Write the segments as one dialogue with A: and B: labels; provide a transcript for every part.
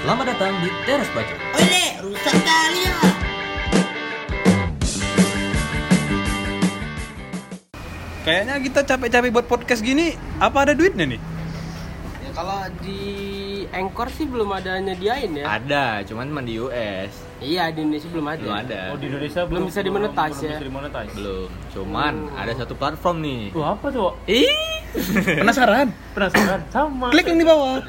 A: Selamat datang di Teras Baca.
B: Ole, rusak kali ya.
C: Kayaknya kita capek-capek buat podcast gini, apa ada duitnya nih?
D: Ya, kalau di Anchor sih belum ada nyediain ya.
A: Ada, cuman cuma di US.
D: Iya, di Indonesia belum ada.
A: Belum ada.
E: Oh di Indonesia
D: Belum
E: belum,
D: bisa dimonetize ya?
E: belum bisa dimonetize.
A: Belum. Cuman ada satu platform nih.
E: Tuh apa tuh?
A: Oh. Ih.
C: Penasaran?
E: Penasaran? Sama.
C: Klik link di bawah.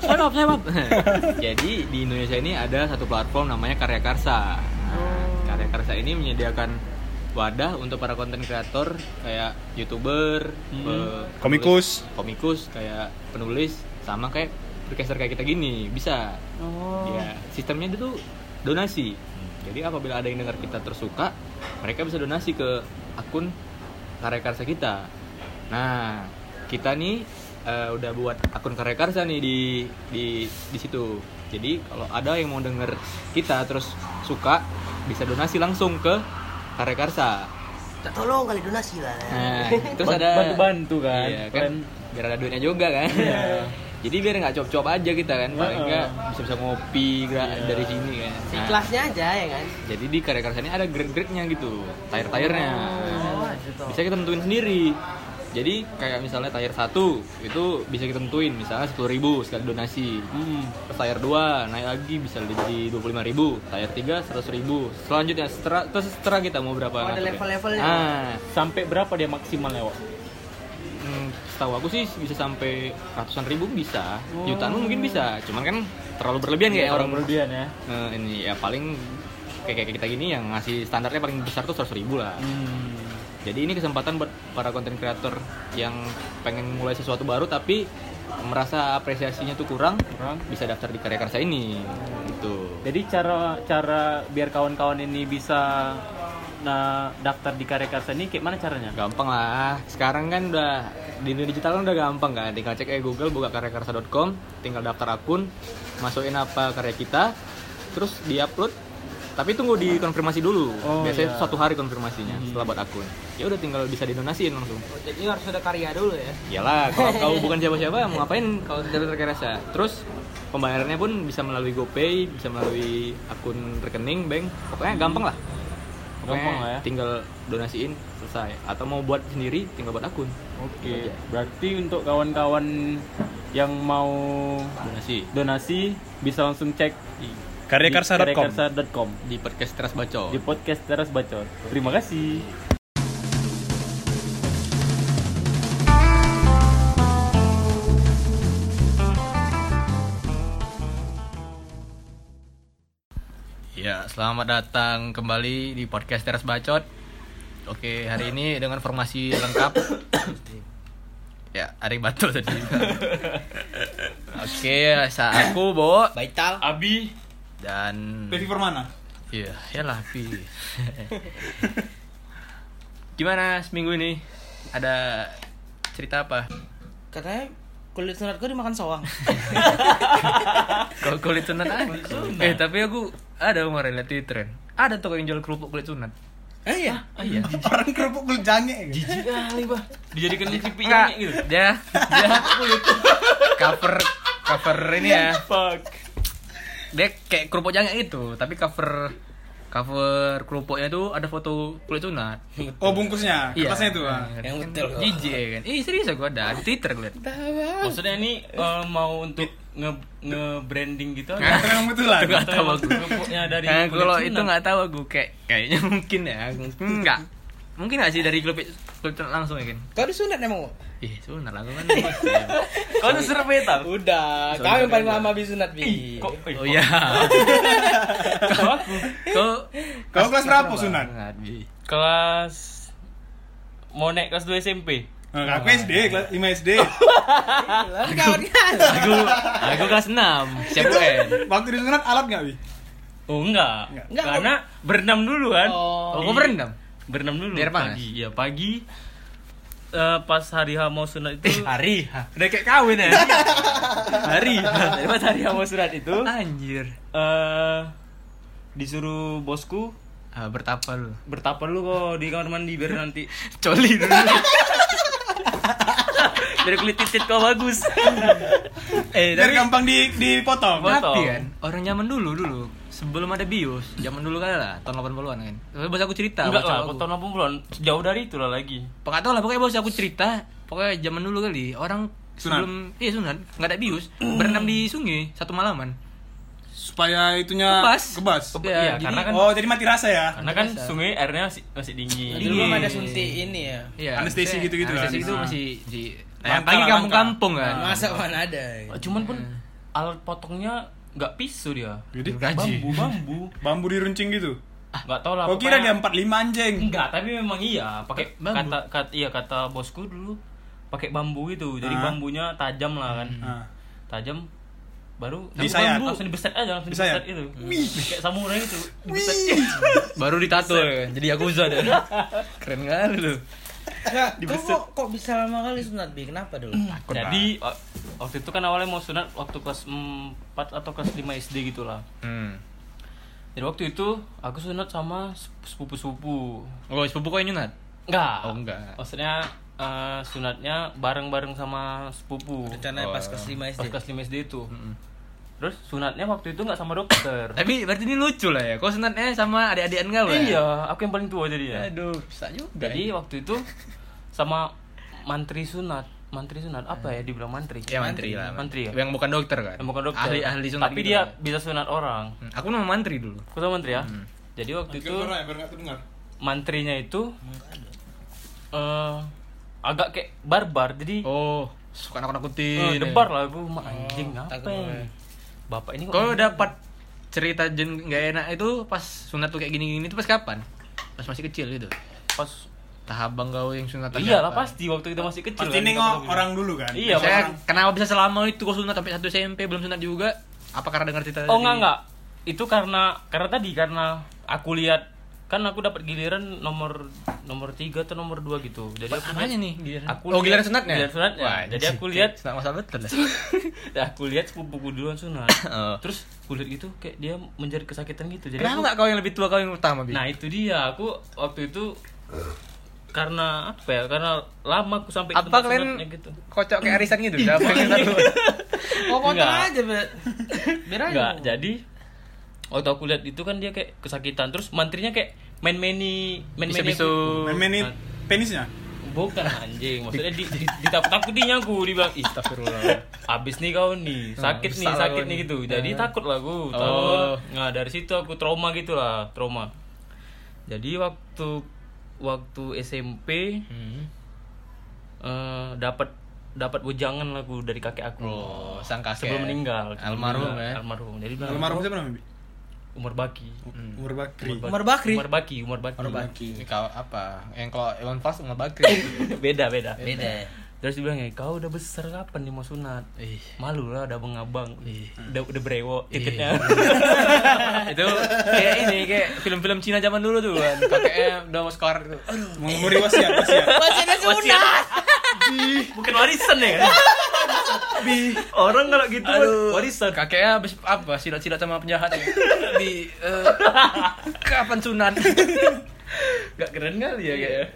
A: Shut up, shut up. Jadi di Indonesia ini ada satu platform namanya Karya Karsa. Nah, Karya Karsa ini menyediakan wadah untuk para konten kreator kayak youtuber, pe-
C: Komikus.
A: penulis- komikus kayak penulis sama kayak podcaster kayak kita gini bisa.
B: Oh.
A: Ya sistemnya itu tuh donasi. Jadi apabila ada yang dengar kita tersuka, mereka bisa donasi ke akun Karya Karsa kita. Nah, kita nih eh, udah buat akun Karya Karsa nih di di di situ. Jadi kalau ada yang mau denger kita terus suka, bisa donasi langsung ke Karya Karsa.
B: Tolong kali donasi lah.
A: Nah, terus
E: Ban-
A: ada
E: bantu-bantu kan.
A: Iya, kan
E: Keren.
A: biar ada duitnya juga kan. Jadi biar nggak cop-cop aja kita kan, paling nggak bisa bisa ngopi gra- dari sini kan.
D: Si
A: Nah,
D: kelasnya aja ya kan.
A: jadi di karya karya ini ada grade-grade-nya gitu, tire-tirenya.
D: Oh, gitu.
A: Bisa kita tentuin sendiri. Jadi kayak misalnya tire 1 itu bisa kita tentuin misalnya 10.000 ribu sekali donasi.
E: Hmm.
A: Terus tire 2 naik lagi bisa jadi 25.000 ribu, tire 3 100.000 ribu. Selanjutnya setera, terus setera kita mau berapa?
D: Oh, ada
A: ngaturnya.
D: level-levelnya.
A: Ah,
E: Sampai berapa dia maksimalnya, Wak?
A: hmm, setahu aku sih bisa sampai ratusan ribu bisa, jutaan pun mungkin bisa. Cuman kan terlalu berlebihan kayak orang
E: Oh. Iya, berlebihan ya.
A: Eh, ini ya paling kayak kayak kita gini yang ngasih standarnya paling besar tuh 100 ribu lah
E: Hmm.
A: jadi ini kesempatan buat para konten kreator yang pengen mulai sesuatu baru tapi merasa apresiasinya tuh kurang
E: Kurang.
A: bisa daftar di karya karsa ini gitu
E: Jadi cara cara biar kawan-kawan ini bisa nah daftar di Karya Karsa ini kayak mana caranya?
A: gampang lah sekarang kan udah di dunia digital kan udah gampang kan tinggal cek aja Google buka karyakarsa.com tinggal daftar akun masukin apa karya kita terus diupload tapi tunggu dikonfirmasi dulu
E: Oh,
A: biasanya
E: iya. Hmm.
A: itu satu hari konfirmasinya setelah buat akun ya udah tinggal bisa didonasiin langsung
D: Oh, Jadi harus ada karya dulu ya.
A: Iyalah, kalau kau bukan siapa-siapa mau ngapain kalau tidak terkerasa. ya? Terus pembayarannya pun bisa melalui GoPay, bisa melalui akun rekening bank. Pokoknya gampang lah. Pokoknya
E: Gampang lah ya.
A: Tinggal donasiin selesai. Atau mau buat sendiri tinggal buat akun.
E: Oke. Berarti untuk kawan-kawan yang mau
A: Donasi
E: donasi bisa langsung cek di
C: Karyakarsa.com.
E: karyakarsa.com
A: di podcast Teras Bacol.
E: di podcast Teras Bacot. Terima kasih.
A: Ya, selamat datang kembali di podcast Teras Bacot. Oke, hari ini dengan formasi lengkap. ya, Ari Batu tadi. Oke, saya aku Bo
D: Baital.
E: Abi
A: dan
E: Permana.
A: Iya, ya lah Pi. Gimana seminggu ini? Ada cerita apa?
D: Katanya kulit sunat gue dimakan soang.
A: Kalau kulit sunat ah. Eh, tapi aku ada kemarin lihat di tren. Ada toko yang jual kerupuk kulit sunat.
D: Eh iya.
A: Iya.
F: orang kerupuk kulit jange gitu.
D: Jijik kali, Bah.
A: Dijadikan cipi gitu. Dia dia kulit cover cover ini ya. Dia kayak kerupuk jangan itu, tapi cover cover kerupuknya itu ada foto kulit sunat.
F: oh bungkusnya
A: Iya.
F: kertasnya itu ah.
A: Yang betul. Jijik ya kan. Ih, serius aku ada di Twitter gue liat.
G: Maksudnya ini eh, mau untuk nge nge-branding gitu
A: Nah,
G: ada
F: Terang betul ah. lah.
A: itu nggak tahu aku.
G: kerupuknya dari
A: Nah,
G: kulit
A: kalau
G: sunat.
A: itu nggak tahu aku kayak kayaknya mungkin ya, enggak. Mungkin nggak sih dari klub klub langsung ya kan?
D: Kau disunat emang?
A: Ih, sunat langsung kan.
G: Kau tuh survei tau?
D: Udah, kau yang paling lama disunat, Bi.
G: Kok
A: Oh iya.
G: kau aku
A: Kau
F: Kau kelas berapa sunat?
A: Sunat, Bi.
G: kelas mau naik kelas 2 SMP.
F: Eh, aku SD, kelas 5 SD.
A: Aku aku kelas 6, siapa ya? UN.
F: Waktu disunat alat nggak bi?
G: Oh enggak.
D: Enggak.
G: Karena berenam dulu kan.
A: Oh, kau berendam?
G: Berenam dulu.
A: Di air panas?
G: Pagi, ya pagi. eh, pas hari H mau sunat itu
A: Hari.
G: udah kayak kawin ya. hari. Pas hari H mau sunat itu
A: Anjir.
G: eh disuruh bosku
A: Ah, bertapa lu.
G: bertapa dulu kok di kamar mandi biar nanti
A: Coli dulu.
E: Biar kulit titit kau bagus.
A: eh
F: Biar
A: tapi
F: gampang di dipotong.
A: tapi kan orang zaman dulu dulu sebelum ada bios zaman dulu kan lah tahun 80-an kan Tapi bos aku cerita
E: Enggak
A: bos
E: lah,
A: aku.
E: tahun 80-an. Jauh dari itu lah lagi.
A: Pokoknya tau lah, pokoknya bos aku cerita Pokoknya zaman dulu kali, orang sebelum Iya sunat, nggak ada bius Berenam di sungai, satu malaman
F: Supaya itunya
A: Kebas
F: kebas.
A: Iya,
E: Iya,
A: karena
E: karena kan
F: Oh, jadi mati rasa ya.
E: karena kan
G: Iya.
E: sungai airnya masih, masih dingin.
A: Dingin.
E: Dulu
A: Iya.
D: belum ada suntik ini ya
A: iya,
F: Anestesi
A: maksudnya
F: gitu-gitu kan.
A: Anestesi itu
F: Nah.
A: masih di
F: Langka,
A: Apalagi
F: langka.
A: kampung-kampung kan
D: masa mana ada ya?
G: Iya.
E: Cuman pun alat potongnya nggak pisau dia.
F: Jadi
A: Bergaji
E: Bambu, bambu.
F: bambu diruncing gitu.
G: Ah.
E: Nggak tahu lah.
F: Kau kira dia
E: pokoknya-
F: 45 anjing.
E: Enggak, tapi memang iya. Pakai
A: Bambu.
E: kata, kata iya kata bosku dulu pakai bambu itu. Jadi
F: Ah.
E: bambunya tajam lah
A: Hmm.
E: kan.
F: Ah.
E: Tajam baru
F: Disayat.
E: langsung dibeset aja langsung
F: Disayat.
E: dibeset itu. Kayak samurai gitu. itu. Dibeset.
A: Baru ditato ya, jadi yakuza deh Keren kali lu
D: Nah, kok, kok, kok bisa lama kali sunat bi? Kenapa dulu?
E: Jadi wa- waktu itu kan awalnya mau sunat waktu kelas 4 atau kelas 5 SD gitulah.
A: hmm.
E: Jadi waktu itu aku sunat sama sep- sepupu-sepupu.
A: Oh, sepupu kau yang nyunat?
E: Enggak.
A: Oh, enggak.
E: Maksudnya eh, sunatnya bareng-bareng sama sepupu.
D: Rencananya pas kelas 5 SD.
E: Pas kelas 5 SD itu. Terus sunatnya waktu itu nggak sama dokter.
A: Tapi berarti ini lucu lah ya, kau sunatnya sama adik-adikan kau ya?
E: Iya, aku yang paling tua jadi ya.
A: Aduh, bisa juga
E: Jadi waktu itu sama mantri sunat, mantri sunat apa ya dibilang mantri?
A: Ya mantri lah
E: Mantri ya.
A: Yang bukan dokter kan?
E: Yang bukan dokter.
A: Ahli, ahli sunat
E: Tapi
A: gitu
E: dia
A: kan?
E: bisa sunat orang.
A: Hmm, Aku nama mantri dulu
E: Aku tahu mantri ya.
A: Hmm.
E: Jadi waktu itu
F: Orang ya, baru nggak terdengar.
E: mantrinya itu eh agak kayak barbar. Jadi
A: Oh, iya, suka anak-anak
E: eh,
A: putih.
E: debar lah aku "Ma, anjing apa ya? Bapak ini kok
A: Kau dapat cerita jen nggak enak itu pas sunat tuh kayak gini-gini itu pas kapan? Pas masih kecil itu.
E: pas
A: Tahap bang kau yang sunat.
E: iyalah pasti waktu kita masih kecil.
F: Pasti
E: kan,
F: nengok
E: kita-
F: orang dulu kan.
E: Iya,
A: Saya
E: orang-
A: kenapa bisa selama itu kau sunat sampai satu SMP belum sunat juga? Apa karena dengar cerita?
E: Oh
A: dari-
E: enggak enggak. Itu karena karena tadi karena aku lihat kan aku dapat giliran nomor nomor 3 atau nomor 2 gitu. Jadi aku
A: Apanya nih? Giliran?
E: Aku
A: oh, giliran
E: lihat-
A: sunatnya.
E: giliran sunatnya. Jadi aku
A: anjing.
E: lihat-
A: sunat masa betul. ya? lah.
E: lihat nah, aku lihat sepupuku duluan sunat.
A: Oh.
E: Terus kulit itu kayak dia menjadi kesakitan gitu. Jadi
A: Kenapa
E: aku-
A: enggak kau yang lebih tua kau yang utama, Bi?
E: Nah, itu dia. Aku waktu itu karena apa ya? Karena lama aku sampai ke
A: apa
E: tempat
A: kalian
E: sunatnya gitu.
A: kocok kayak arisan gitu? Siapa yang satu?
D: Oh,
H: Kok kontol
E: Enggak.
H: aja, Bet? Biar aja.
E: Enggak, jadi waktu aku lihat itu kan dia kayak kesakitan. Terus mantrinya kayak main-maini main-maini
A: Bisa-bisa
E: aku-
F: Main-mainin penisnya.
E: Bukan anjing, maksudnya di, di, ditakut-takutinya aku dibilang ih astagfirullah. Abis nih kau nih, sakit nih,
A: salah
E: sakit
A: kau nih.
E: nih
A: Nah.
E: gitu. Jadi takut lah aku.
A: Oh.
E: Oh. Nah, dari situ aku trauma gitu lah, trauma. Jadi waktu waktu SMP
A: Hmm.
E: eh, dapat dapat wejangan lah aku dari kakek aku.
A: Oh, sang kakek.
E: Sebelum meninggal.
A: Almarhum ya.
E: Sebelum meninggal, Almarhum. Jadi bilang
F: Almarhum siapa namanya? Bi?
E: Umar Baki.
F: Umar Bakri.
D: Umar Bakri?
E: Umar Baki, Umar Baki.
A: Ini kau apa? Yang kalau Iwan Fals nggak bakri.
E: beda, beda.
D: Beda.
E: Terus dia bilang, "Ya, kau udah besar kapan nih mau sunat?
A: Ih.
E: Malu lah, udah abang-abang, udah, udah brewo
A: Iya.
E: tiketnya.
A: itu kayak ini kayak film-film Cina zaman dulu tuh kan. Kakeknya udah mau skor gitu. Aduh.
F: Mengumuri wasiat, wasiat.
E: Bukan warisan ya? Orang kalau gitu warisan.
A: Kakeknya habis apa? Silat-silat sama penjahat. ya? Di eh, kapan sunat?
E: Gak keren kali ya kayaknya.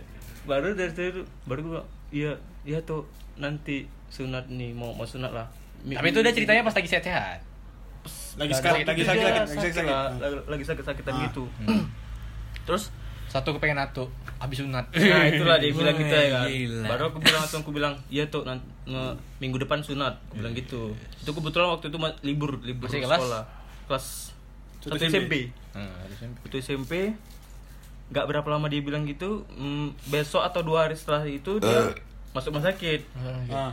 E: Baru dari situ baru gue iya iya tuh nanti sunat nih mau mau sunat lah. Mi-
A: Tapi itu udah ceritanya pas lagi sehat-sehat.
F: Lagi sakit, lagi sakit,
E: Iya,
F: lagi sakit, sakit.
A: Hmm.
E: lah, lagi- lagi sakit-sakitan
A: Ah.
E: gitu. Terus
A: Satu kepengen nato, habis sunat.
E: Nah itulah dia bilang gitu ya kan. Baru aku bilang langsung aku bilang iya tuh nan- nge- minggu depan sunat. Aku bilang gitu. Itu kebetulan waktu itu ma- libur libur
A: Iya. Masih kelas?
E: sekolah. Kelas
F: Satu
E: satu SMP.
A: Hmm, habis sunat.
E: Itu SMP. Gak berapa lama dia bilang gitu. mm, besok atau dua hari setelah itu
A: Eh.
E: dia masuk rumah sakit.
D: iya,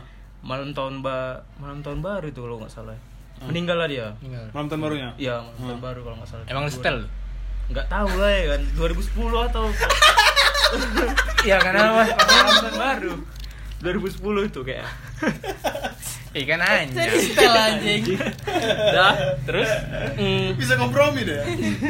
F: Ah,
E: Malam tahun ba malam tahun baru itu kalau nggak salah. Meninggal lah dia.
A: Tinggal.
F: Malam tahun barunya.
E: Iya, malam
F: Hmm.
E: tahun baru kalau nggak salah.
A: Emang setel?
E: Nggak tahu lah ya kan. 2010 atau
A: Iya karena apa?
E: malam tahun baru. 2010 itu kayak
A: Ikan aja.
H: Setel anjing.
E: Dah, terus mm,
F: Bisa kompromi deh.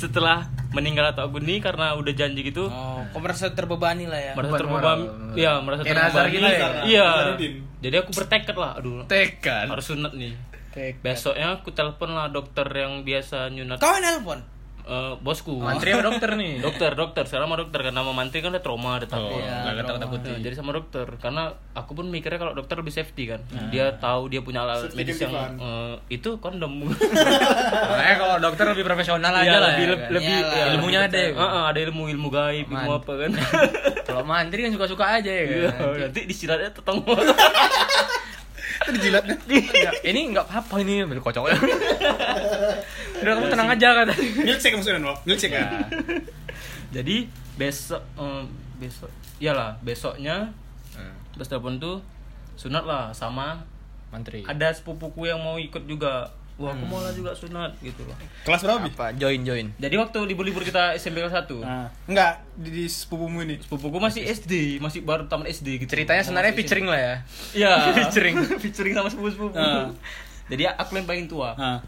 E: setelah meninggal atau aku nih karena udah janji gitu,
D: Oh, kok merasa terbebani lah ya?
E: merasa
A: Beban
E: terbebani,
A: moral.
E: iya merasa
A: Kayak Nazar
E: terbebani.
A: gitu ya?
E: Iya.
F: Nazaruddin.
E: Jadi aku bertekad lah, aduh
A: Tekan.
E: harus sunat nih.
A: Tekan.
E: Besoknya aku telepon lah dokter yang biasa nyunat.
D: Kau yang nelpon? eh, bosku
A: Mantri sama dokter nih.
D: dokter dokter sekarang sama dokter karena sama mantri kan ada trauma ada takut
A: Oh, Nggak
I: Iya,
A: takut takuti.
D: Nah, jadi sama dokter karena aku pun mikirnya kalau dokter lebih safety kan
A: Hmm.
D: dia tahu dia punya alat
F: Safety
D: medis yang
F: kehidupan.
D: eh, itu kondom
A: Makanya kalau dokter lebih profesional aja
D: Iya,
A: lah.
D: lebih
A: ya
D: lebih,
A: kan?
D: lebih-
I: Iyalah.
D: iya,
A: Ilmunya
D: lebih
A: ada ya
D: percaya.
A: kan?
D: Ah, ah, ada ilmu ilmu gaib ilmu
A: Aman.
D: apa kan
A: Kalau mantri kan suka-suka aja ya
D: Iya,
A: kan?
D: nanti disiratnya tetang
F: Terjilatnya.
A: Nggak- ini nggak apa-apa ini ambil kocok udah kamu tenang aja kata
F: Milkshake maksudnya, Nol. Milkshake
D: Iya.
F: kan.
A: Iya.
D: jadi besok eh, besok iyalah besoknya
A: Nah,
D: terus telepon tuh sunat lah sama
A: mantri
D: ada sepupuku yang mau ikut juga wah aku mau lah juga sunat gitu loh
F: Kelas berapa, Bi?
A: apa join join
D: jadi waktu libur-libur kita SMP kelas 1
F: Nah, enggak di, di sepupumu ini.
D: sepupuku masih SD masih baru taman SD gitu
A: ceritanya sebenarnya
D: Masih
A: featuring lah ya
D: Iya.
A: Featuring.
D: featuring sama sepupu-sepupu.
F: Ah.
D: Jadi aku yang paling tua.
F: Ah.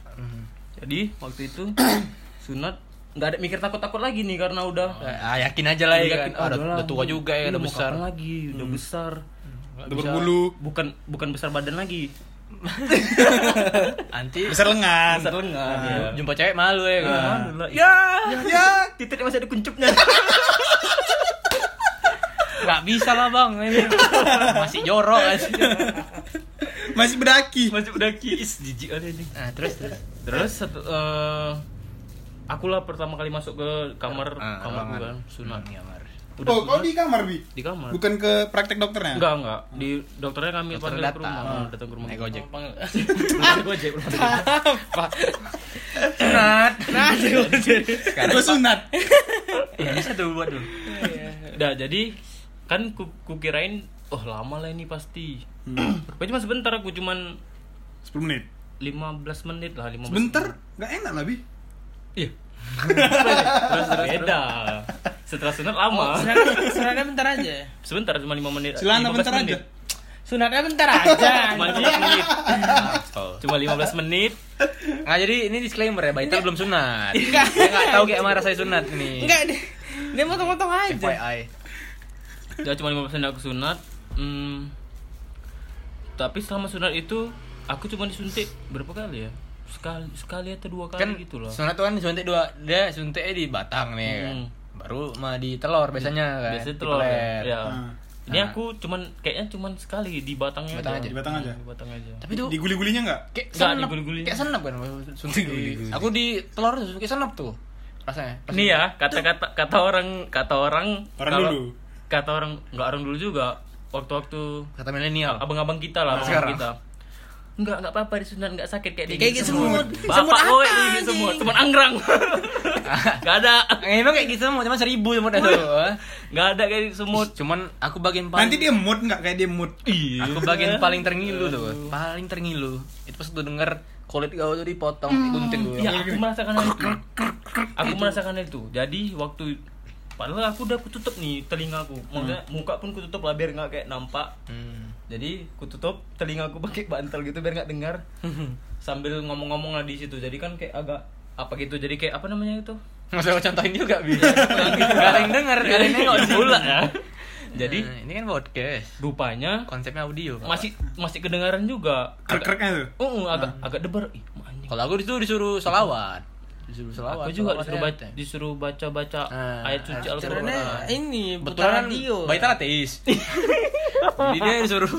D: Jadi waktu itu sunat nggak ada mikir takut-takut lagi nih karena udah
A: ah, yakin aja lah ya kan
D: Yakin,
A: oh, udah,
D: ah, "Udahlah,
A: udah tua juga ya
D: lu
A: udah
D: mau
A: besar
D: kapan lagi, Hmm. udah besar. Nggak
F: Udah
D: bisa-
F: berbulu.
D: Bukan bukan besar badan lagi.
A: nanti
F: Besar lengan.
D: Besar lengan. ya.
A: jumpa cewek malu ya kan
D: Alhamdulillah. Ya, ya, titiknya masih ada kuncupnya.
A: nggak bisa lah bang ini masih jorok aja
F: Masih bedaki.
D: masih udah kiis jijik ada ini.
A: nah, terus terus
D: Terus satu eh, akulah pertama kali masuk ke kamar
A: Ah,
D: kamar
A: ruangan.
D: kan sunat.
A: Nyamar.
D: Udah
F: Oh, kau
D: sunat,
F: di kamar, Bi?
D: di kamar.
F: Bukan ya? ke praktek dokternya?
D: Enggak, enggak. Di dokternya kami
A: Dokter
D: panggil ke
A: datang.
D: rumah, Ah, datang ke rumah.
A: naik ojek
D: Panggil Gojek, rumah sakit.
A: sunat
F: Gue sunat.
A: Iya,
D: Ya, bisa tuh buat tuh. Udah, jadi kan ku, kukirain oh lama lah ini pasti. Pokoknya cuma sebentar aku cuman
F: 10 menit.
D: 15 menit lah, 15.
F: Sebentar, enggak enak lah, Bi.
D: Iya. terus terus beda. Setelah sunat lama.
A: Oh,
I: Sunatnya, sunatnya bentar aja.
D: sebentar cuma 5 menit.
F: Celana
D: 15
F: bentar
D: Iya,
F: aja.
D: menit.
I: Sunatnya bentar aja.
D: Cuma 15 menit. Cuma 15 menit.
A: Nggak Nah, jadi ini disclaimer ya,
D: Iya.
A: Baitel belum sunat. Enggak. Dia nggak tahu kayak marah saya sunat nih.
I: Enggak dia, dia motong-motong aja.
A: FYI.
D: Ya cuma 15 menit aku sunat. Hmm. Tapi selama sunat itu aku cuma disuntik berapa kali ya? Sekali sekali atau dua kali
A: Kan
D: gitu loh.
A: sunat tuh kan disuntik dua, dia suntiknya di batang nih. kan.
D: Hmm.
A: Baru mah di telur biasanya kan.
D: Biasanya
A: di
D: telur.
A: pelet.
D: Ya.
F: Ah.
D: Ini
A: Ah.
D: aku cuman kayaknya cuman sekali di batangnya Hmm,
A: Batang aja.
F: Di batang aja.
D: Di batang aja.
A: Tapi tuh
F: Diguli-gulinya enggak?
A: kayak
D: Nggak,
A: senep,
D: diguli-guli.
A: kayak senep kan suntik. Aku di telur tuh kayak senep tuh rasanya. Pas
D: Ini ya kata-kata kata orang kata orang
F: Orang
D: kalau-
F: dulu.
D: Kata orang nggak orang dulu juga. Waktu-waktu
A: Kata milenial.
D: abang-abang kita lah, abang
A: sekarang.
D: kita. Enggak, enggak apa-apa disunat enggak sakit kayak digigit
I: Kayak gigit semut. Semut
D: Bapak
I: apa,
D: kowe digigit semut,
I: anjing?
D: semut anggrang. Enggak ada.
A: Emang kayak gitu mau cuma seribu semutnya tuh.
D: Enggak ada kayak digigit semut.
A: Cuman aku bagian paling
F: Nanti dia mood enggak kayak dia mood.
D: Iya.
A: Aku bagian paling terngilu tuh, paling terngilu. Itu pas tuh denger kulit kau tuh dipotong, digunting dulu.
D: Iya, aku merasakan hal itu. Aku merasakan hal itu. Jadi waktu padahal aku udah aku tutup nih telingaku. Maksudnya
F: Hmm.
D: muka pun aku tutup lah biar nggak kayak nampak.
A: Hmm.
D: Jadi aku tutup telingaku pakai bantal gitu biar nggak dengar.
A: Hmm.
D: Sambil ngomong-ngomong lah di situ. Jadi kan kayak agak apa gitu. Jadi kayak apa namanya itu?
A: Nggak usah contohin juga bisa.
D: Iya.
A: Gak ada yang denger, gak ada yang nengok sih.
D: Pula ya.
A: Jadi
D: Jadi
A: ini kan podcast,
D: rupanya
A: konsepnya audio. Pak.
D: masih masih kedengaran juga. Agak,
F: Krek-kreknya tuh.
D: uh, uh, agak agak debar. Ih, anjing.
A: Nah. Kalau aku disuruh disuruh solawat, disuruh solawat.
D: Aku juga
A: solawat ya.
D: disuruh baca disuruh baca-baca
A: Ah.
D: ayat suci
I: Karena
D: Al-Qur'an. Nah. Ah.
I: ini putar
A: Betulan
I: radio.
A: Baita ateis. Jadi dia disuruh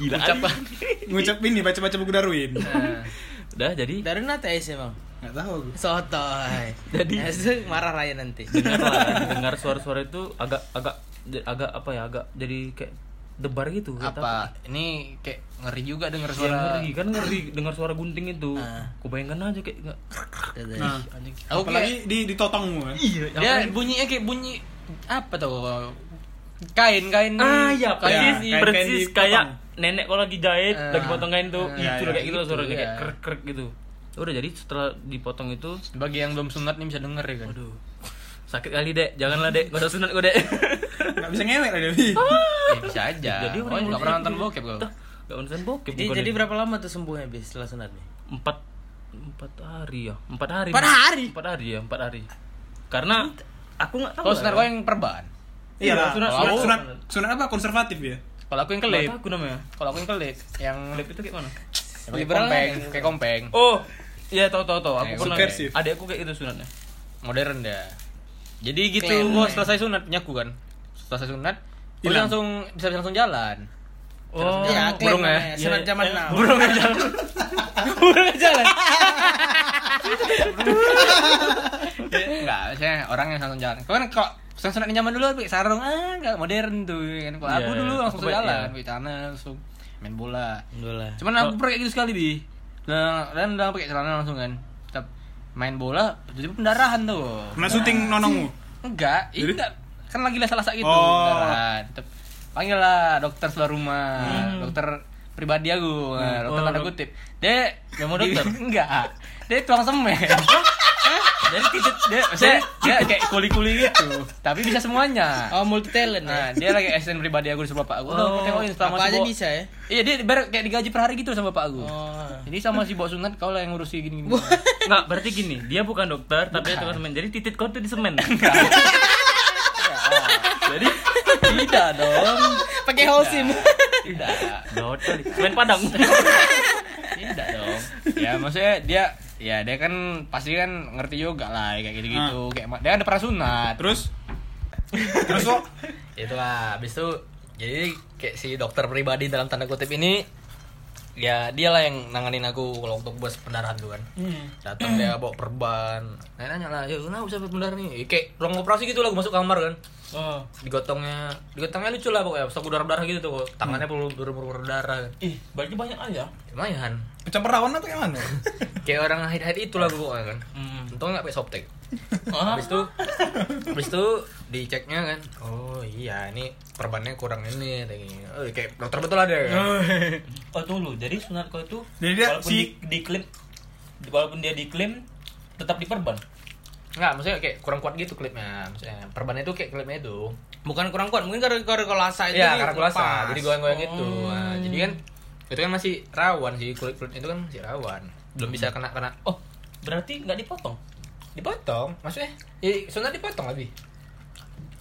D: Gila.
A: ucapan.
F: Ngucapin nih baca-baca buku Darwin.
A: Nah,
D: Udah jadi
I: Dari nata ya bang.
F: Enggak tahu aku.
I: Sotoy.
D: Jadi-
I: Nah, itu marah raya nanti.
D: dengar dengar suara-suara itu agak agak agak apa ya agak jadi kayak debar gitu nggak tahu.
A: apa? Ini kayak ngeri juga denger
I: Iya,
D: Ya,
A: suara. Nah,
D: ngeri kan ngeri dengar suara gunting itu aku bayangkan aja kayak nggak
F: Nah,
A: Aku kayak
F: apalagi di kan? ditotong semua.
D: iya
A: Dia bunyinya kayak bunyi apa tuh? Kain-kain.
D: ah ya
A: kain.
D: persis
F: kain-kain
D: persis
F: dipotong.
D: kayak nenek kalau lagi jahit
A: Ah.
D: lagi potong kain tuh
A: Ah,
D: itu
A: ya, ya,
D: kayak gitu
A: gitu,
D: suaranya kayak
A: ya.
D: krek krek gitu udah jadi setelah dipotong itu
A: Bagi yang belum sunat nih bisa denger ya kan.
D: aduh sakit kali dek janganlah dek gak usah sunat gue dek
F: Enggak bisa ngewek lah dia. Bi.
A: Eh, bisa aja.
D: Jadi
A: Jadi
D: orang yang
A: nggak pernah
D: bisa-
A: nonton bokep kau.
D: gak urusan bokep
I: Jadi,
D: bukan
I: jadi
D: dek.
I: berapa lama tuh sembuhnya bis setelah sunat nih?
D: empat empat hari ya empat hari
I: Empat hari?
D: empat hari ya empat hari karena aku nggak tahu
A: Kalau
D: lah
A: sunat
D: ya.
A: kau yang perban.
F: Iya lah. Sunat,
D: sunat- sunat-
F: sunat, sunat apa konservatif ya?
A: Kalau aku yang
D: Nggak
A: kelip.
D: tahu aku namanya
A: Kalau aku yang kelip yang
D: klip itu kayak mana
E: ya.
A: yang pakai kompeng, kayak kompeng.
D: oh iya tahu tahu tahu aku
A: Eh,
D: pernah
F: subversif.
D: adek aku kayak gitu sunatnya
E: modern dah jadi gitu
I: Keren.
E: gua selesai sunat punyaku kan selesai sunat gua
F: Hilang.
E: langsung bisa bisa langsung jalan
D: Oh,
A: Iya,
I: ya,
E: burung
I: klaim
E: ya?
I: namanya, Sunat
D: Iya,
I: zaman
D: iya.
I: now.
D: Burung aja.
E: enggak saya orang yang langsung jalan kan kalau sunat sunat nyaman dulu tapi sarung ah enggak modern tuh kan kalau
D: Iya,
E: aku
D: iya.
E: dulu langsung
D: Aku-
E: jalan
D: iya.
E: pakai celana langsung main bola
I: Dulu
E: cuman aku pernah kayak gitu sekali bi dan dan udah pakai celana langsung kan tetap main bola jadi pendarahan tuh
F: Kena syuting nonongmu.
A: Iya.
E: Enggak, ini enggak kan lagi lah salah sakit gitu.
F: Oh.
E: beneran. Tep- Panggil lah dokter sebelah rumah,
I: Hmm.
E: dokter pribadi aku, nah, dokter
I: Oh,
E: tanda kutip. Dia
D: Yang mau dokter?
E: enggak. Dia tukang semen. Dari titik dia, maksudnya dia kayak kuli-kuli gitu. Tapi bisa semuanya.
I: Oh, multi talent ya. Oh,
E: Nah, dia lagi asisten pribadi aku disuruh bapak aku. Udah, aku tengokin selama
I: Apa
E: si
I: aja
E: Bo-
I: bisa ya?
E: Iya, dia ber- kayak digaji per hari gitu sama bapak aku.
I: Oh.
E: Jadi sama si Bok Sunat kau lah yang ngurusi gini-gini.
D: Nggak, berarti gini, dia bukan dokter, tapi dia tukang semen. Jadi titik kau tuh di semen. Jadi
E: Tidak dong.
I: Pakai holsim.
E: Tidak.
D: dokter semen Padang.
E: Tidak dong. Ya maksudnya dia ya dia kan pasti kan ngerti juga lah kayak gitu-gitu.
A: Ah.
E: Kayak ma- dia kan udah pernah sunat.
F: Terus? Terus kok?
A: Itulah, habis itu jadi kayak si dokter pribadi dalam tanda kutip ini ya dialah yang nanganin aku kalau waktu buat pendarahan tuh kan. Datang dia bawa perban. Nah, nanya lah, "Ya, kenapa bisa pendarahan nih?" Ya, Kayak ruang operasi gitu lah, aku masuk kamar kan.
D: Oh,
A: Digotongnya, digotongnya lucu lah pokoknya, stok darah-darah gitu tuh. kok. Tangannya perlu berubur darah.
D: ih, berarti banyak aja.
A: Lumayan.
F: Campur rawan atau yang mana?
A: Kayak orang haid-haid itulah gue pokoknya kan.
D: Hmm.
A: Untungnya nggak pakai softtek. Habis itu habis itu diceknya kan. Oh iya, ini perbannya kurang ini kayak gini. Oh, kayak dokter betul ada ya.
D: Oh dulu, jadi sunat kau itu
F: Jadi dia
D: walaupun
F: si-
D: di, diklaim walaupun dia diklaim tetap diperban.
A: Enggak, maksudnya kayak kurang kuat gitu klipnya. Maksudnya perbannya itu kayak klipnya itu.
I: Bukan kurang kuat, mungkin karena karena kolasa itu.
A: Iya,
I: di-
A: karena kulasa.
I: lepas.
A: Jadi goyang-goyang itu. Nah, jadi kan itu kan masih rawan sih kulit kulit itu kan masih rawan. Belum bisa kena kena.
D: Oh, berarti nggak dipotong.
A: Dipotong, maksudnya? Ya, sunat dipotong lebih.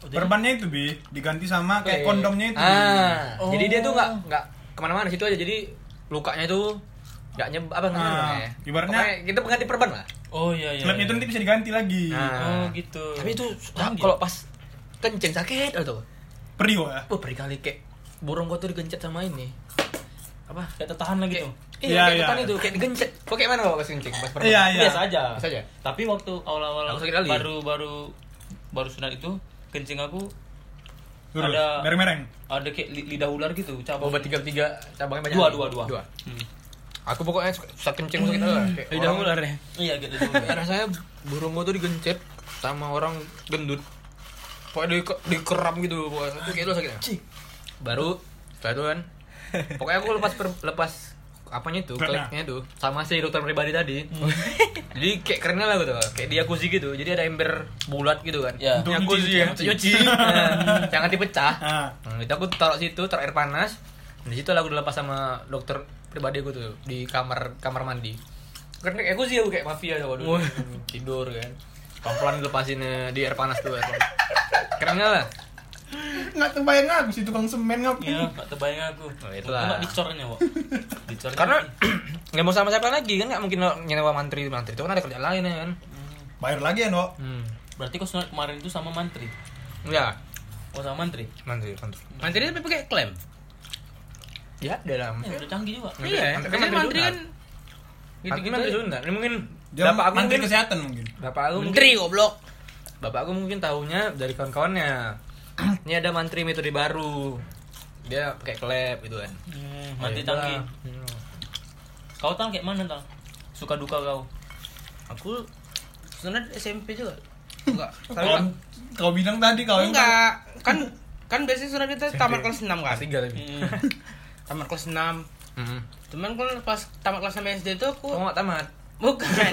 D: Oh,
F: Perbannya itu bi diganti sama kayak kondomnya itu.
A: Iya,
F: Oh.
A: Ah, jadi dia tuh nggak nggak kemana-mana situ aja. Jadi lukanya itu nggak nyeb apa
F: Ah,
A: namanya?
F: ibaratnya-
A: Pokoknya kita pengganti perban lah.
D: Oh iya iya.
F: Klipnya itu nanti bisa diganti lagi.
D: Oh
A: Nah,
D: gitu.
A: tapi itu nah,
D: Canggih.
A: kalau pas kencing sakit atau
F: Perih kok ya?
A: Wah, berkali kayak burung gua tuh digencet sama ini. Apa?
D: nggak tertahan lagi tuh.
F: Iya,
A: Iya, kayak
F: iya.
A: ketan itu kayak digencet. Kok kayak mana kalau pas kencing? Pas perban.
F: Iya, iya.
D: Biasa aja.
A: Biasa aja?
D: Tapi waktu awal-awal
A: Aku sakit kali.
D: baru baru baru sunat itu kencing aku
F: Terus,
D: Ada-
F: mereng-mereng.
D: ada kayak li- lidah ular gitu
F: Oh,
D: cabang.
A: Obat tiga tiga cabangnya banyak.
D: Dua, dua, dua.
F: Hmm.
A: Aku pokoknya suka- susah kencing susah gitu lah. Kayak orang-
I: ya.
D: Iya gitu.
A: Kayak rasanya burung gua tuh digencet sama orang gendut pokoknya di, dikeram gitu pokoknya itu kayak itu sakitnya baru setelah itu kan pokoknya aku lepas per, lepas apanya itu
F: Beratnya.
A: kliknya tuh sama si dokter pribadi tadi jadi kayak kerennya lah gitu kayak di jacuzzi gitu jadi ada ember bulat gitu kan
D: Ya.
F: Untuk
A: jacuzzi ya
F: nyuci, ya.
A: untuk nyuci Nah, jangan dipecah
F: Ah.
A: Nah, itu aku taruh situ taruh air panas Nah, di situ lah aku dilepas sama dokter pribadi aku tuh di kamar kamar mandi karena kayak aku sih aku kayak mafia tuh waduh tidur kan pelan-pelan dilepasinnya di air panas tuh air panas. keren nggak lah
F: Nggak terbayang habis itu tukang semen ngapain?
D: Iya, nggak terbayang aku.
A: Oh, itulah.
D: Cuma dicornya, Wak. Dicornya.
A: karena nggak mau sama siapa lagi kan nggak mungkin lo nyewa mantri mantri itu kan ada kerjaan lain ya kan
F: Bayar lagi ya, Nok.
A: hmm.
D: berarti kau sunat kemarin itu sama mantri.
A: ya
D: Oh, sama mantri.
A: mantri mantri
I: Mantri tapi pakai klaim.
A: ya dalam
D: Ya, udah canggih juga.
I: Iya,
A: Mantri-
I: biasanya
A: mantri
I: mantri kan
A: gitu mantri sunat ini mungkin
F: Dia
A: bapak aku
F: mantri
A: mungkin
F: kesehatan mungkin.
A: bapak aku mungkin
I: menteri goblok.
A: Bapak aku mungkin tahunya dari kawan-kawannya. Ini ada mantri metode baru. Dia pakai klep gitu kan.
D: Hmm, mantri canggih. Kau tang kayak mana tang? Suka duka kau.
I: Aku sunat SMP juga.
F: Kau, kau bilang tadi kau yang
I: Enggak, kan kan biasanya sunat kita tamat kelas 6 kan.
A: Tiga tapi.
I: Hmm. Tamat kelas 6.
A: Heeh.
I: Cuman kan pas tamat kelas 6 SD itu
D: Oh.
I: aku
A: Kok Hmm. nggak tamat?
I: bukan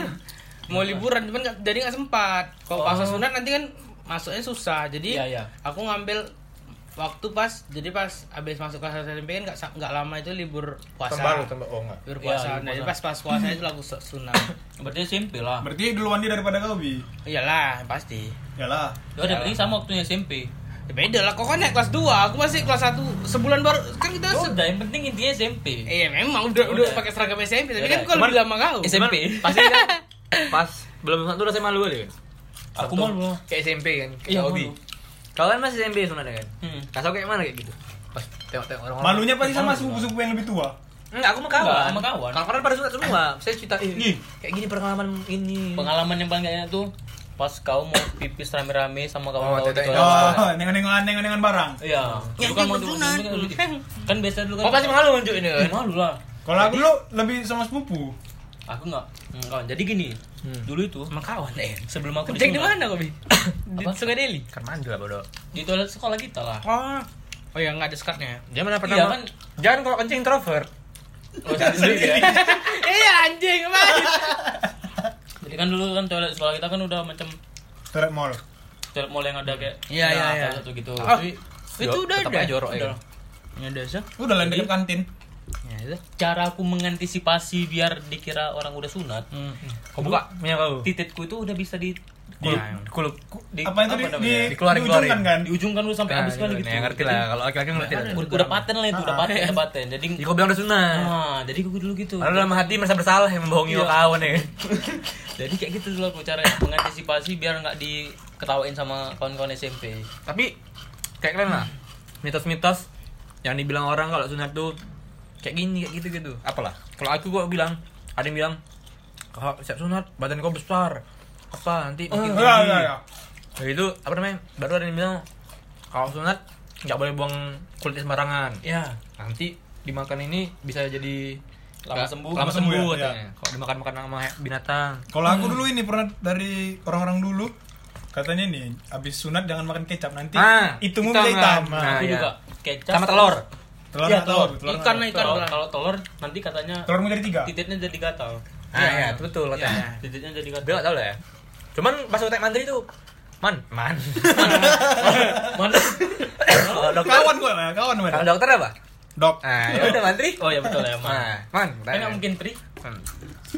I: mau liburan cuman nggak- jadi nggak sempat. Kalau pas sunat nanti kan masuknya susah. Jadi
D: Oh. Iya, iya.
I: aku ngambil waktu pas jadi pas abis masuk kelas SMP kan nggak sa- nggak lama itu libur puasa.
A: tambah oh enggak.
I: libur
D: Iya,
I: puasa.
D: libur
I: Nah, jadi
D: puasa.
I: pas pas puasa itu aku su- Iya. sunat.
D: Berarti SMP lah.
F: Berarti duluan dia daripada kau, Bi.
I: Iyalah, pasti.
F: Yalah.
D: Ya udah berarti sama waktunya SMP.
I: Ya beda lah, kok kan naik kelas 2, aku masih kelas 1 Sebulan baru, kan
D: Ya
I: kita se-
D: udah yang penting intinya SMP.
I: Iya memang udah udah,
D: Udah.
I: pakai seragam SMP tapi
D: Udah.
I: kan kau lebih lama kau.
D: SMP.
A: Pasti kan pas belum satu udah saya malu deh. Sabtu.
D: Aku malu lah.
A: Kayak SMP kan, kayak
I: Iya,
A: hobi.
I: malu.
A: Kalian masih SMP sebenarnya kan?
I: Hmm.
A: Nah, kayak mana kayak gitu? Pas tengok-tengok orang-orang.
F: Malunya pasti sama sepupu-sepupu yang lebih tua.
A: Enggak, aku mau kawan.
D: Enggak, sama kawan.
A: Kalau kalian pada suka semua, saya cerita ini kayak gini pengalaman ini.
D: Pengalaman yang paling gak enak tuh pas kau mau pipis rame-rame sama
A: Oh,
D: kawan-kawan di
A: tetek.
D: kelas.
F: Oh, nengok-nengokan nengok-nengokan barang.
D: kan. Iya. Dulu kan mau dulu kan kan biasa dulu kan.
A: Oh, pasti malu nunjukin
D: Eh,
A: kan?
D: malu lah.
F: Kalau aku dulu lebih sama sepupu.
D: Aku nggak. nggak kawan. Jadi gini,
F: Hmm.
D: dulu itu
I: Emang kawan eh.
D: sebelum aku
I: Cek di
D: disunat,
I: mana kok, Bi? Di
D: Apa?
I: Sungai Deli.
A: Kan mandi lah bodoh.
D: Di toilet sekolah kita lah.
I: Oh. Oh ya enggak ada skatnya.
A: Dia mana
D: Iya,
A: pertama?
D: kan?
A: Jangan kalau kencing introvert.
D: Oh, jadi sendiri ya.
I: Iya anjing, Mas.
D: Jadi kan dulu kan toilet sekolah kita kan udah macam
F: Turret mall.
D: toilet mall yang ada kayak
I: Iya, iya, iya.
D: satu gitu.
I: Oh, itu
A: Ah. Yo,
I: udah
A: tetap
I: ada.
A: aja jorok ya
D: Udah.
A: kan?
I: Ya udah sih.
F: Udah lah dekat kantin.
I: Ya udah.
D: Cara aku mengantisipasi biar dikira orang udah sunat,
F: Hmm.
A: Hmm. Kau buka punya kau.
D: titikku itu udah bisa di
A: Iya,
F: Di-
D: kulup di
F: Apa itu di, di, iya,
D: namanya?
A: Dikeluarin,
F: diujungkan
A: keluarin.
F: kan?
D: di ujung kan lu sampai
A: Nah,
D: habis kali gitu.
A: Ya ngerti lah kalau laki-laki ngerti lah.
D: Jadi, Udah, udah paten lah itu,
A: Ah,
D: udah paten, udah paten. Jadi
A: Ya kau bilang udah sunat.
D: nah, jadi gue dulu gitu.
A: Lalu dalam hati merasa bersalah yang membohongi kawan ya. kan?
D: Jadi kayak gitu dulu aku caranya mengantisipasi biar nggak diketawain sama kawan-kawan SMP.
A: Tapi kayak keren lah. Mitos-mitos yang dibilang orang kalau sunat tuh kayak gini kayak gitu gitu. Apalah. Kalau aku gua bilang ada yang bilang kalau siap sunat badan kau besar apa nanti makin
F: Iya, iya,
A: tinggi.
F: iya.
A: Nah, itu apa namanya? Baru ada yang bilang kalau sunat nggak boleh buang kulit sembarangan.
D: Ya,
A: Nanti dimakan ini bisa jadi nggak-
D: Lama sembuh.
A: Lama
F: Lama
A: sembuh.
F: sembuh ya,
A: katanya. Kalau dimakan-makan sama binatang.
F: Kalau aku dulu ini pernah dari orang-orang dulu katanya nih abis sunat jangan makan kecap nanti
A: Ah,
F: itu hitam, hitam.
A: hitam, ah.
D: aku
A: iya.
D: juga kecap
A: Sama telur.
F: telur
D: Nah. Iya,
F: nggak telur,
D: telur.
F: telur
I: Ikan
F: nggak
I: naik
D: Kalau
I: kan.
D: kalau telur nanti katanya
F: telur mau jadi tiga
D: titiknya jadi gatal.
A: Ah, iya, itu betul katanya.
D: Ya, titiknya jadi
A: Dia
D: gatal.
A: nggak tahu lah ya. Cuman pas utek mantri itu man man.
D: Mana?
A: Kalau dokter
F: kawan gue lah kawan gue
A: kalau dokter apa?
F: dok
A: Ah, ya udah mantri.
D: Oh ya betul ya, Man.
A: Ah, man.
D: Enak mungkin pri
A: Man.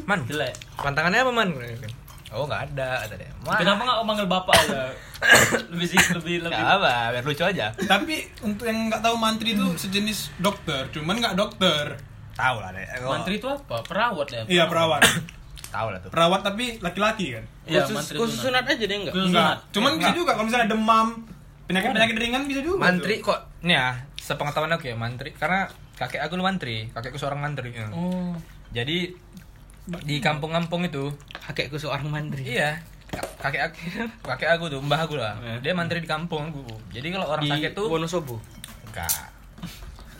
A: Man.
D: jelek.
A: Pantangannya apa man? Oh nggak ada kata dia. Man.
D: Kenapa nggak manggil bapak ya? lebih sih lebih
A: Nggak
D: lebih.
A: apa, biar lucu aja.
F: tapi untuk yang nggak tahu mantri itu sejenis dokter cuman nggak dokter
A: Tahu lah deh. Oh,
D: Mantri itu apa? Perawat ya.
F: iya perawat
A: Tahu lah tuh.
F: perawat tapi laki-laki kan
D: Iya,
I: Khusus,
D: mantri
I: khusus
D: sunat.
I: sunat aja deh enggak?
D: Khusus sunat.
F: enggak cuman bisa juga kalau misalnya demam penyakit-penyakit ringan bisa juga
A: Mantri
F: tuh.
A: kok nih ya, sepengetahuan aku ya mantri karena kakek aku dulu mantri, kakekku seorang mantri. ya.
I: Oh,
A: Jadi di kampung-kampung itu
I: kakekku seorang mantri.
A: Iya. Kakek aku, kakek aku tuh, mbah aku lah.
I: Iya.
A: Dia mantri di kampung aku. Jadi kalau orang sakit tuh
I: Wonosobo.
A: enggak.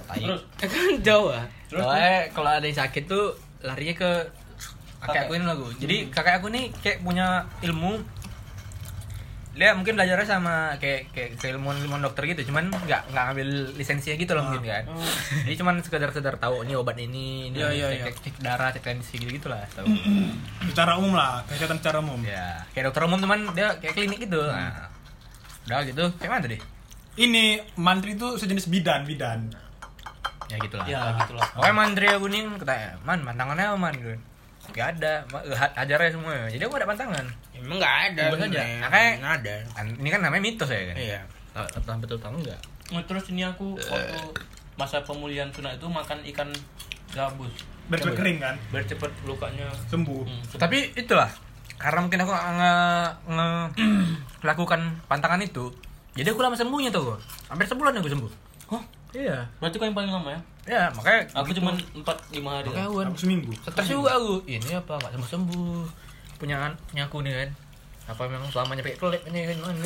A: Tai.
D: Terus
I: Eh, Kan Jawa.
A: Kalau eh, kalau ada yang sakit tuh larinya ke kakek aku ini lagu.
I: Hmm.
A: Jadi kakek aku nih kayak punya ilmu dia mungkin belajarnya sama kayak kayak keilmuan ilmuwan dokter gitu cuman nggak nggak ngambil lisensinya gitu loh mungkin kan jadi cuman sekedar sekedar tahu ini obat ini ini
I: Ah. Hmm. Iya, iya, iya.
A: cek, cek, cek darah cek tensi gitu gitulah tahu
F: secara umum lah kesehatan secara umum
A: ya kayak dokter umum teman dia kayak klinik gitu nah, udah gitu kayak mana tadi
F: ini mantri itu sejenis bidan bidan
A: ya gitulah
D: ya gitulah.
A: pokoknya mantri aku nih ketanya man pantangannya apa man gitu gak ada Ma- eh, ha- hajarnya semua jadi aku ada pantangan
I: Emang enggak Ya, ada.
A: Bebas aja.
I: sebenarnya.
A: Makanya-
I: Nggak ada.
A: An- ini kan namanya mitos ya kan
I: Iya.
A: Tahu betul tahu enggak
D: Nah, terus ini aku waktu masa pemulihan sunat itu makan ikan gabus
F: bercepat kering kan
D: biar cepet lukanya
F: sembuh
D: hmm,
I: Iya.
D: sembuh.
A: tapi itulah karena mungkin aku nggak nge- nge- melakukan pantangan itu jadi aku lama sembuhnya tuh hampir sebulan aku sembuh
D: Hah?
A: iya
D: berarti kau yang paling lama ya
A: ya makanya
D: aku
A: gitu.
D: cuma empat lima hari ya.
A: makanya
D: lah.
A: aku
F: aku seminggu
A: stres juga aku ini apa nggak sembuh sembuh punya punya aku nih kan apa memang selamanya pakai klip ini kan Man?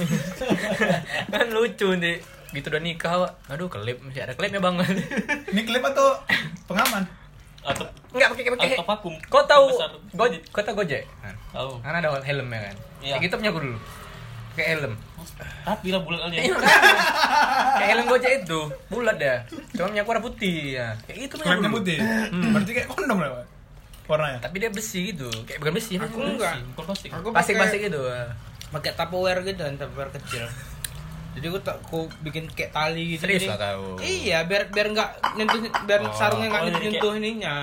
A: kan lucu nih gitu udah nikah Wak. aduh klip masih ada klipnya bang
F: ini klip atau pengaman
D: atau
A: nggak pakai pakai
D: atau vakum
A: kau tahu
D: Besar.
A: gojek kau tahu gojek kan
D: tahu
A: Kan ada helmnya kan
D: Iya.
A: kayak gitu punya aku dulu pakai helm
D: tapi lah bulan kali ya
A: Iya, kan? kayak helm gojek itu bulat dah cuma punya aku warna putih ya kayak gitu punya aku
F: klepnya
A: dulu.
F: putih berarti kayak kondom lah Pak, warnanya
A: tapi dia besi gitu kayak bukan besi
I: Aku enggak.
D: Bukan plastik
I: Aku pakai-
A: pasik-pasik gitu
I: pakai tupperware gitu kan tupperware kecil jadi aku tak aku bikin kayak tali gitu
A: Serius
I: jadi-
A: lah kau.
I: iya biar biar nggak nyentuh biar
A: Oh.
I: sarungnya nggak
D: Oh, jadi
I: nyentuh nyentuh ininya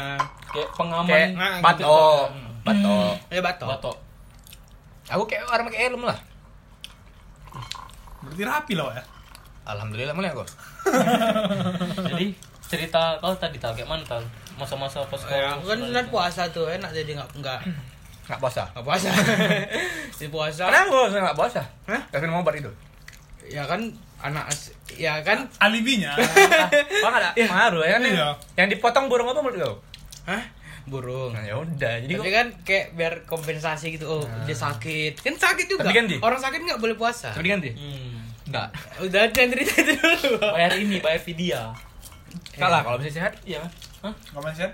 D: kayak pengaman
A: kayak
I: nah, gitu.
A: batok batok
I: ya batok
D: batok
A: Hmm. aku kayak orang pakai helm lah
F: berarti rapi lah Pak, ya
A: alhamdulillah mulai aku
D: jadi cerita kau Hmm. tadi tahu kayak mana tahu masa-masa pas kau
A: Oh,
I: Ya, aku kan
D: sunat
I: sunat
D: itu.
I: puasa tuh enak jadi nggak nggak
A: nggak puasa
I: nggak puasa si puasa
A: kenapa lu nggak puasa Hah? Gak minum obat itu
I: ya kan anak as- ya kan
F: Alibinya.
A: Wah nggak ada pengaruh ya kan
F: Iya.
A: yang dipotong burung apa menurut kau
I: hah burung
A: nah, ya udah jadi kok
I: tapi
A: Nah.
I: kan kayak biar kompensasi gitu oh dia sakit kan sakit juga
A: Tapi ganti.
I: orang sakit nggak boleh puasa
A: tapi ganti nggak
I: udah jangan cerita itu dulu
D: bayar ini bayar vidya
A: nggak lah kalau bisa sehat
D: iya kan Hah?
F: Gak masih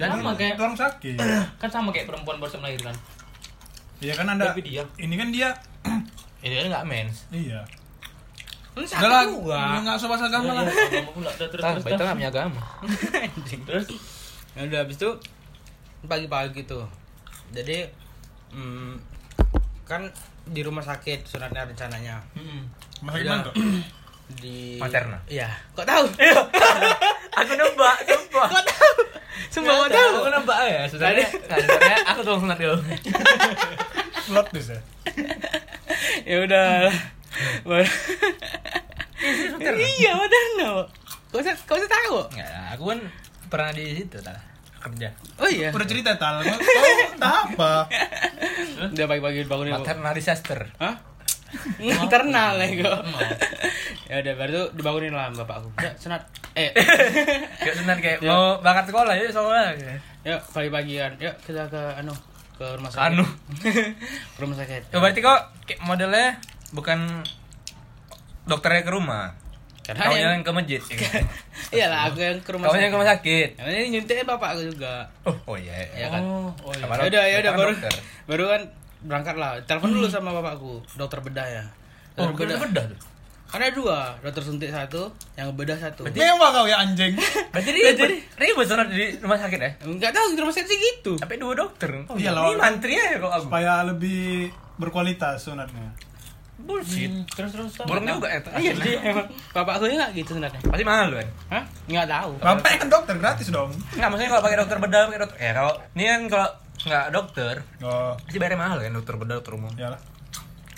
D: Dan sama kayak
F: orang sakit.
D: kan sama kayak perempuan baru melahirkan
F: Iya kan anda.
D: Tapi dia.
F: Ini kan dia.
A: ini kan nggak mens
F: Iya.
I: kan
F: Udah
I: sakit
F: lah,
I: juga
F: nggak usah bahas agama
D: Iya,
F: lah.
D: iya, agama pula. Udah, terus
A: kita
D: terus
A: baik
D: terus.
A: nggak punya agama
D: terus
I: ya udah habis itu pagi-pagi tuh jadi hmm, kan di rumah sakit sunatnya rencananya
F: Masih
I: Udah.
F: gimana tuh?
I: di
A: Materna.
I: iya kok tahu
A: aku nembak sumpah
I: kok tahu sumpah kok tahu
A: aku nembak ya sebenarnya nggak sebenarnya aku tuh sunat dulu
F: Plot twist ya.
I: ya udah Baru- iya Materna Pak. kau usah kau usah tahu
A: nggak lah, aku kan pernah di situ tah kerja
I: oh iya
F: Udah cerita tal. Kau- Kau entah apa?
I: udah pagi-pagi bangun
A: materna disaster
I: Hah? internal ya kok ya udah baru tuh dibangunin lah sama bapakku ya sunat eh
A: kayak sunat kayak mau bakat sekolah ya sekolah
I: yuk pagi-pagi kan yuk kita ke anu ke rumah
A: Ke
I: sakit
A: anu.
I: ke rumah sakit
A: ya berarti kok kayak modelnya bukan dokternya ke rumah
I: karena
A: kau
I: yang
A: yang ke masjid ya kan?
I: iya lah aku yang ke rumah
A: kau yang
I: sakit
A: ke rumah sakit
I: karena ini nyuntiknya bapakku juga
A: oh oh iya
I: ya kan
D: oh iya.
A: Apa
I: ya udah ya
A: dokter
I: udah
A: kan
I: baru
A: dokter.
I: baru kan berangkat lah telepon dulu sama bapakku dokter bedah ya
A: oh
I: dokter
A: bedah
I: bedah
A: bedah tuh
I: ada dua dokter suntik satu yang bedah satu
F: Mewah kau ya anjing.
A: berarti ribut ribut sunat di rumah sakit ya
I: nggak tahu di rumah sakit sih gitu
A: sampai dua dokter oh, iya
F: Iya, lah.
A: ini mantri ya kok aku
F: Supaya lebih berkualitas sunatnya.
A: bullshit
D: terus terus terus.
A: burung juga ya tuh.
I: iya jadi emang bapakku ini nggak gitu sebenarnya
A: pasti mahal kan
I: hah nggak tahu
F: Bapaknya kan dokter gratis dong.
A: Enggak, maksudnya kalau pakai dokter bedah, pakai dokter. Ya kalau ini kan kalau enggak dokter,
F: Oh,
A: pasti bayarnya mahal kan dokter bedah, dokter umum.
F: iyalah.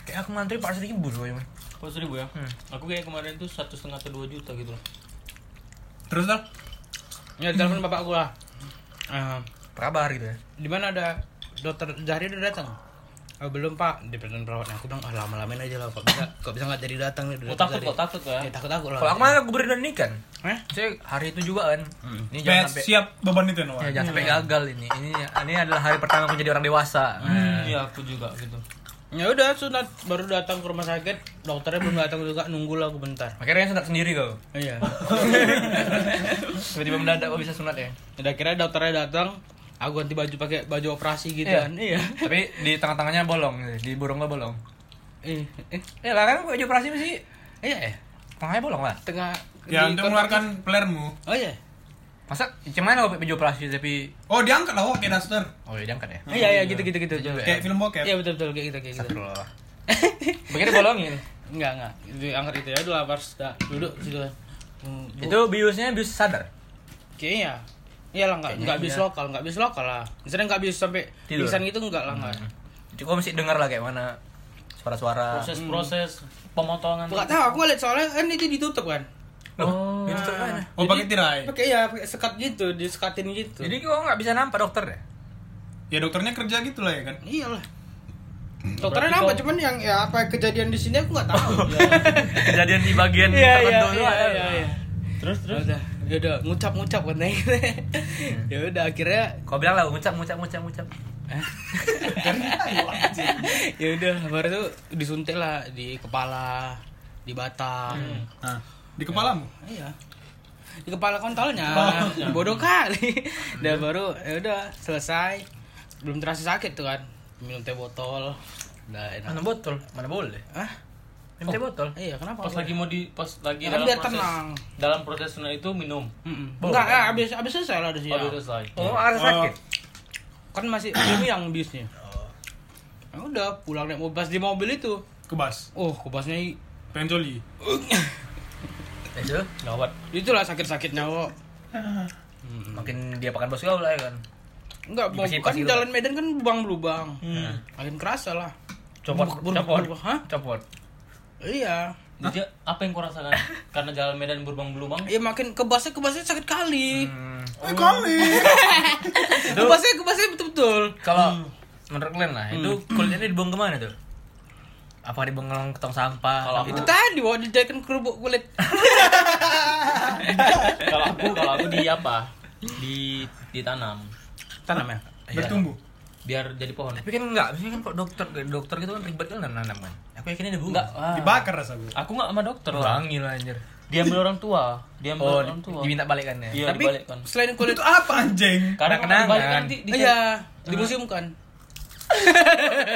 A: Kayak aku ngantri 400 ribu soalnya. Man.
D: Oh, seribu ya
I: Hmm.
D: aku kayak kemarin tuh satu setengah atau dua juta gitu loh
F: Terus tal.
I: ya telepon bapakku lah Eh,
A: Apa kabar gitu ya?
I: di mana ada dokter Zahri udah datang oh, belum pak di pertanyaan perawatnya aku bilang ah lama lamain aja lah kok bisa kok bisa nggak jadi datang nih
D: Kok takut kok takut kan
I: ya takut takut lah Eh?
A: Kalau aku mah aku berenang ini kan.
I: Hah?
A: Saya hari itu juga kan. Ini jangan
F: Bet,
A: sampai
F: siap beban itu
A: ya,
F: Noah.
A: jangan sampai gagal ini. Ini ini adalah hari pertama aku jadi orang dewasa.
D: Hmm, iya aku juga gitu
I: ya udah sunat baru datang ke rumah sakit dokternya belum datang juga nunggu lah aku bentar
A: Akhirnya sunat sendiri kau.
I: iya
A: Tiba-tiba mendadak kok bisa sunat ya.
I: udah kira dokternya datang aku ganti baju pakai baju operasi gitu
A: Iya.
I: kan iya
A: Tapi di tengah-tengahnya bolong, gitu. di burung lo bolong.
I: Eh, eh,
A: Ya lah kan aku baju operasi masih
I: iya ya
A: tengahnya bolong lah.
I: tengah
F: Ya,
I: di-
F: untuk mengeluarkan pelermu.
I: oh iya
A: Masa gimana kok baju operasi tapi
F: Oh, diangkat lah kok kayak daster.
A: oh ya diangkat ya.
I: iya iya gitu gitu gitu
A: Juga
F: Kayak film bokep.
I: iya betul betul kayak gitu kayak gitu
A: Astagfirullah. Begitu bolongin.
I: Enggak, enggak. Diangkat itu ya, udah lapar, sudah duduk situ. Hmm, bu-
A: Itu biusnya bius sadar.
I: kayaknya Iya lah, enggak, enggak bis lokal, enggak bis lokal lah. Misalnya enggak bis sampai
A: Tidur. Hmm.
I: pingsan gitu enggak lah, enggak.
A: Cukup mesti dengar lah kayak mana suara-suara.
D: proses
I: Hmm.
D: proses pemotongan
I: Enggak tahu, aku lihat soalnya kan itu ditutup kan.
A: Loh, itu tuh mana?
F: Oh, pakai tirai.
I: Pakai ya, pakai sekat gitu, disekatin gitu.
A: Iya. Jadi kok nggak bisa nampak dokter ya?
F: Ya dokternya kerja gitu lah ya kan.
I: iyalah. Dokternya nampak cuman yang ya apa kejadian di sini aku enggak tahu. Iya,
A: Kejadian di bagian tertentu doang.
D: terus terus Hmm.
I: Udah, ya udah iya. ngucap-ngucap katanya. ya udah akhirnya
A: Kau bilang lah ngucap ngucap ngucap ngucap.
F: iya,
I: ya udah baru tuh disuntik lah di kepala di batang
D: Hmm.
F: Nah, di kepalamu.
I: iya di kepala kontolnya bodoh kali
D: Hmm.
I: udah baru ya udah selesai belum terasa sakit tuh kan minum teh botol udah enak
A: Mana botol? Mana boleh?
I: ah
A: Minum teh botol.
I: iya kenapa
D: pas lagi mau di pas lagi
I: Ya kan
D: dalam
I: biar
D: proses
I: tenang.
D: dalam proses sunat itu minum
I: Mm-mm. enggak enggak abis abis selesai lah di sini
D: oh udah selesai
A: Oh, ada sakit.
I: kan masih belum yang bisnya Ya udah pulang naik mobil pas di mobil itu
F: Kebas.
I: oh kubasnya i-
F: Penjoli.
A: Itu
D: gawat
I: itulah sakit-sakitnya kok
A: makin dia pakan bos kau lah ya kan.
I: Enggak, bang,
A: Dipasih-pasih
I: kan
A: gitu, Hmm.
I: jalan Medan kan lubang lubang. Makin kerasa lah.
A: Copot,
I: Buruk,
A: copot,
I: buruk, hah?
A: copot.
I: Iya.
D: jadi apa yang kau rasakan karena jalan Medan berlubang-lubang
I: Iya makin kebasnya kebasnya sakit kali.
A: Hmm.
F: Eh, kali.
A: Hmm.
I: Kebasnya kebasnya betul-betul.
A: Kalau menurut kalian lah itu kulitnya dibuang kemana tuh apa dibuang ke tong sampah
D: Kalau aku-
I: Itu tadi bawa dijadikan kerupuk kulit.
D: kalau aku kalau aku di apa di ditanam
I: Tanam ya?
A: Iya.
F: bertumbuh
D: biar jadi pohon
A: tapi kan enggak biasanya kan kok dokter dokter gitu kan ribet kan nanam kan aku yakinnya dibuang
D: enggak ah.
F: dibakar rasa gue
D: aku nggak sama dokter lah
A: Bangil anjir
D: diambil orang tua diambil
A: oh
D: orang tua
A: diminta balikannya
D: iya
I: Tapi
D: dibalikkan
I: selain kulit
F: itu apa anjing
D: karena kena
A: kan. kenangan.
D: balik nanti di
I: Iya, di museum kan.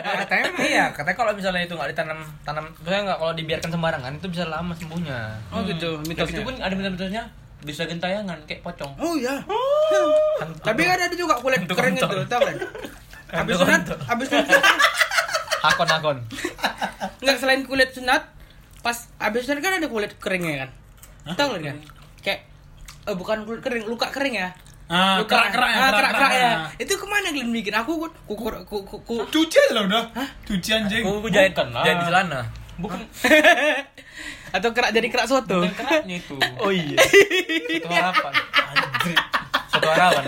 A: katanya emang iya katanya kalau misalnya itu nggak ditanam tanam misalnya nggak kalau dibiarkan sembarangan itu bisa lama sembuhnya
I: Oh gitu,
D: itu
I: mitosnya.
D: pun ada mitos-mitosnya bisa gentayangan kayak pocong
I: Oh iya. Tapi kan ada juga kulit
A: Untuk
I: kering itu,
A: kontol.
I: tahu kan? Habis sunat, habis sunat.
A: akon akon
I: Enggak selain kulit sunat, pas habis sunat kan ada kulit keringnya kan. Tahu kan? kan? Kayak eh, bukan kulit kering, luka kering ya.
F: ah
I: Luka
F: kerak kerak ya
I: Ah, kerak-kerak ya.
F: kerak.
I: Itu kemana Glenn bikin? Aku ku ku ku, ku, ku- ku-
F: cuci aja lah udah cuci anjing
A: aku jahit
D: Bukan lah.
A: jahit celana
D: bukan
I: atau kerak jadi kerak soto.
D: bukan keraknya itu
A: oh iya satu harapan anjir satu harapan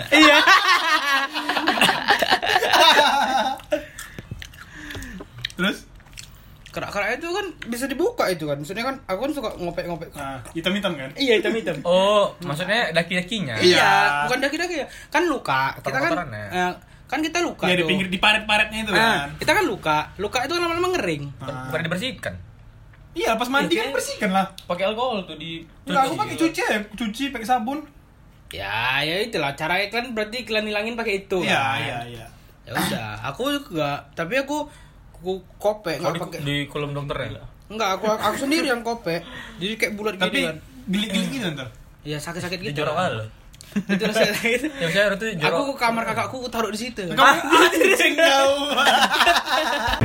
F: terus
I: Kerak-kerak itu kan bisa dibuka itu kan. Maksudnya kan aku kan suka ngopek-ngopek.
F: nah, hitam hitam kan
I: Iya, hitam-hitam.
A: oh maksudnya laki lakinya
I: Iya, bukan daki-daki ya. Kan luka. Kita kan
A: Kotor-kotoran ya?
I: eh, kan kita luka
F: ya di
I: tuh.
F: pinggir di paret paretnya itu
I: Ah,
F: kan
I: kita kan luka. Luka itu kan lama-lama ngering.
F: Ah.
A: bukan dibersihkan
F: iya pas mandi kan bersihkan lah
D: pakai alkohol tuh di
F: Enggak, aku
A: Iya.
F: pakai cuci ya, cuci pakai sabun.
I: Ya, ya itulah cara iklan berarti iklan hilangin pakai itu.
F: Iya,
I: kan?
F: iya, iya.
I: Ya udah, aku juga tapi aku aku kopek
A: kalau
I: nggak
A: di,
I: pakai.
A: di kolom dokter ya
I: Enggak, aku aku sendiri yang kopek. Jadi kayak bulat
F: Tapi
I: gini kan.
F: bilik-bilik gitu ntar.
I: Ya sakit-sakit
A: di
I: gitu.
A: jorok
I: kan.
A: aja loh
I: Itu rasanya sakit.
A: ya misalnya itu jorok
I: Aku ke kamar kakakku aku taruh di situ.
F: Kamu anjing kau.